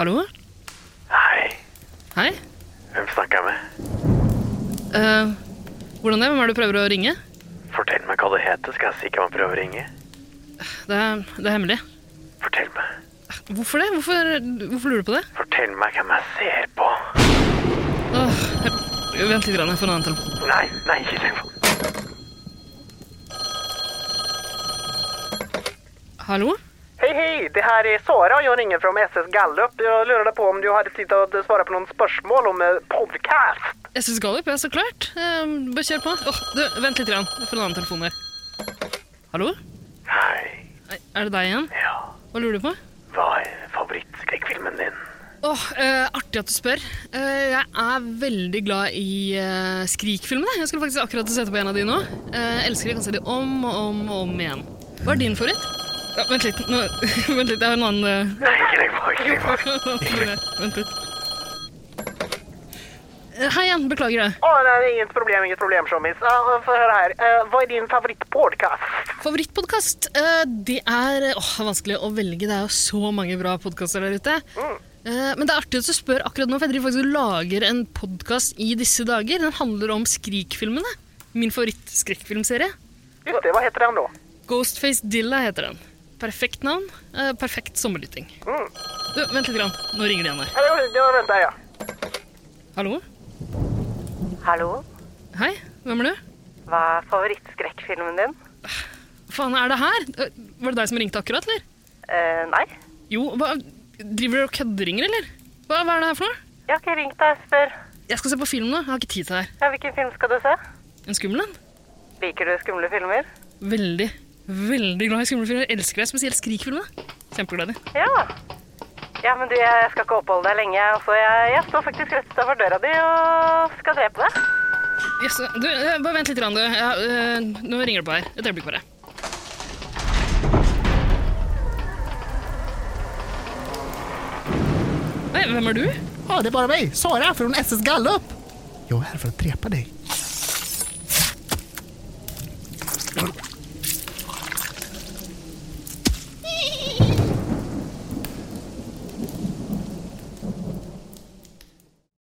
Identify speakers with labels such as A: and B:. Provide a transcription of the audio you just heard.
A: Hallo?
B: Hei,
A: Hei?
B: hvem snakker jeg med?
A: Eh, hvordan det? Hvem er det du prøver å ringe?
B: Fortell meg hva du heter, skal jeg si hvem jeg prøver å ringe.
A: Det er, det er hemmelig.
B: Fortell meg.
A: Hvorfor det? Hvorfor, hvorfor lurer du på det?
B: Fortell meg hvem jeg ser på.
A: Åh, jeg- vent litt, grann, jeg får en annen telefon.
B: Nei, nei, ikke telefon.
A: Hallo?
C: Hej hej, det här är Sara jag ringer från SS Gallup. Jag lurade på om du hade tid att svara på någon spörsmål om eh, podcast.
A: Jeg syns Gallup, ja, så klart. Eh, bare kjør på. Åh, du, vent litt, grann. jeg får en annen telefon her. Hallo?
B: Hei,
A: Nei, Er det deg igjen?
B: ja.
A: Hva lurer du på?
B: Hva er favorittskrekkfilmen din?
A: Åh, eh, Artig at du spør. Eh, jeg er veldig glad i eh, Skrik-filmene. Jeg skulle faktisk akkurat sette på en av de nå. Eh, elsker de, kan se de om og om og om igjen. Hva er din favoritt? Ja, vent litt, nå, vent litt, jeg har en annen eh,
B: Nei, ikke legg på, ikke legg på.
A: Vent litt. Eh, Hei igjen, beklager det.
C: Ja, nej, inget problem, inget problem Shommis. Ja, för hör här, eh, vad är din favoritpodcast?
A: Favorittpodkast? Eh, Det er åh, det er vanskelig å velge. Det er jo så mange bra podkaster der ute. Eh, Men det er artig at du spør akkurat nå, for jeg driver faktisk og lager en podkast i disse dager. Den handler om Skrik-filmene. Min favorittskrekkfilmserie.
C: Just det, vad heter den då?
A: Ghostface Dilla heter den. Perfekt navn. eh, Perfekt sommerlytting. Du, vent litt. Grann. Nå ringer det igjen her.
C: Eller, jag väntar jag.
A: Hallo?
D: Hallo,
A: Hei, hvem er du?
D: hva er favorittskrekkfilmen din?
A: Faen, er det her? Eh, Var det deg som ringte akkurat, eller?
D: Eh, nei,
A: Jo, hva, driver du og kødderinger, eller? Hva, hva er det her for noe?
D: jeg har ikke ringt deg, jeg spør.
A: Jeg skal se på film nå. Jeg har ikke tid til det her.
D: Ja, hvilken film skal du se?
A: En skummel en?
D: Liker du skumle filmer?
A: Veldig, veldig glad i skumle filmer. Jeg elsker deg, spesielt Skrik-filmene. Kjempeglad i.
D: Ja. Ja, men du, jeg skal ikke oppholde deg lenge. Altså, jeg, jeg står faktisk rett utenfor døra di og skal drepe deg.
A: Yes, du, eh, bare vent litt, grann, du. Ja, eh, nå ringer det på her. Et øyeblikk bare. Hej, Hvem er du?
E: Ja, det är bara mig, Sara från SS Gallup. Jag är här för att drepa dig.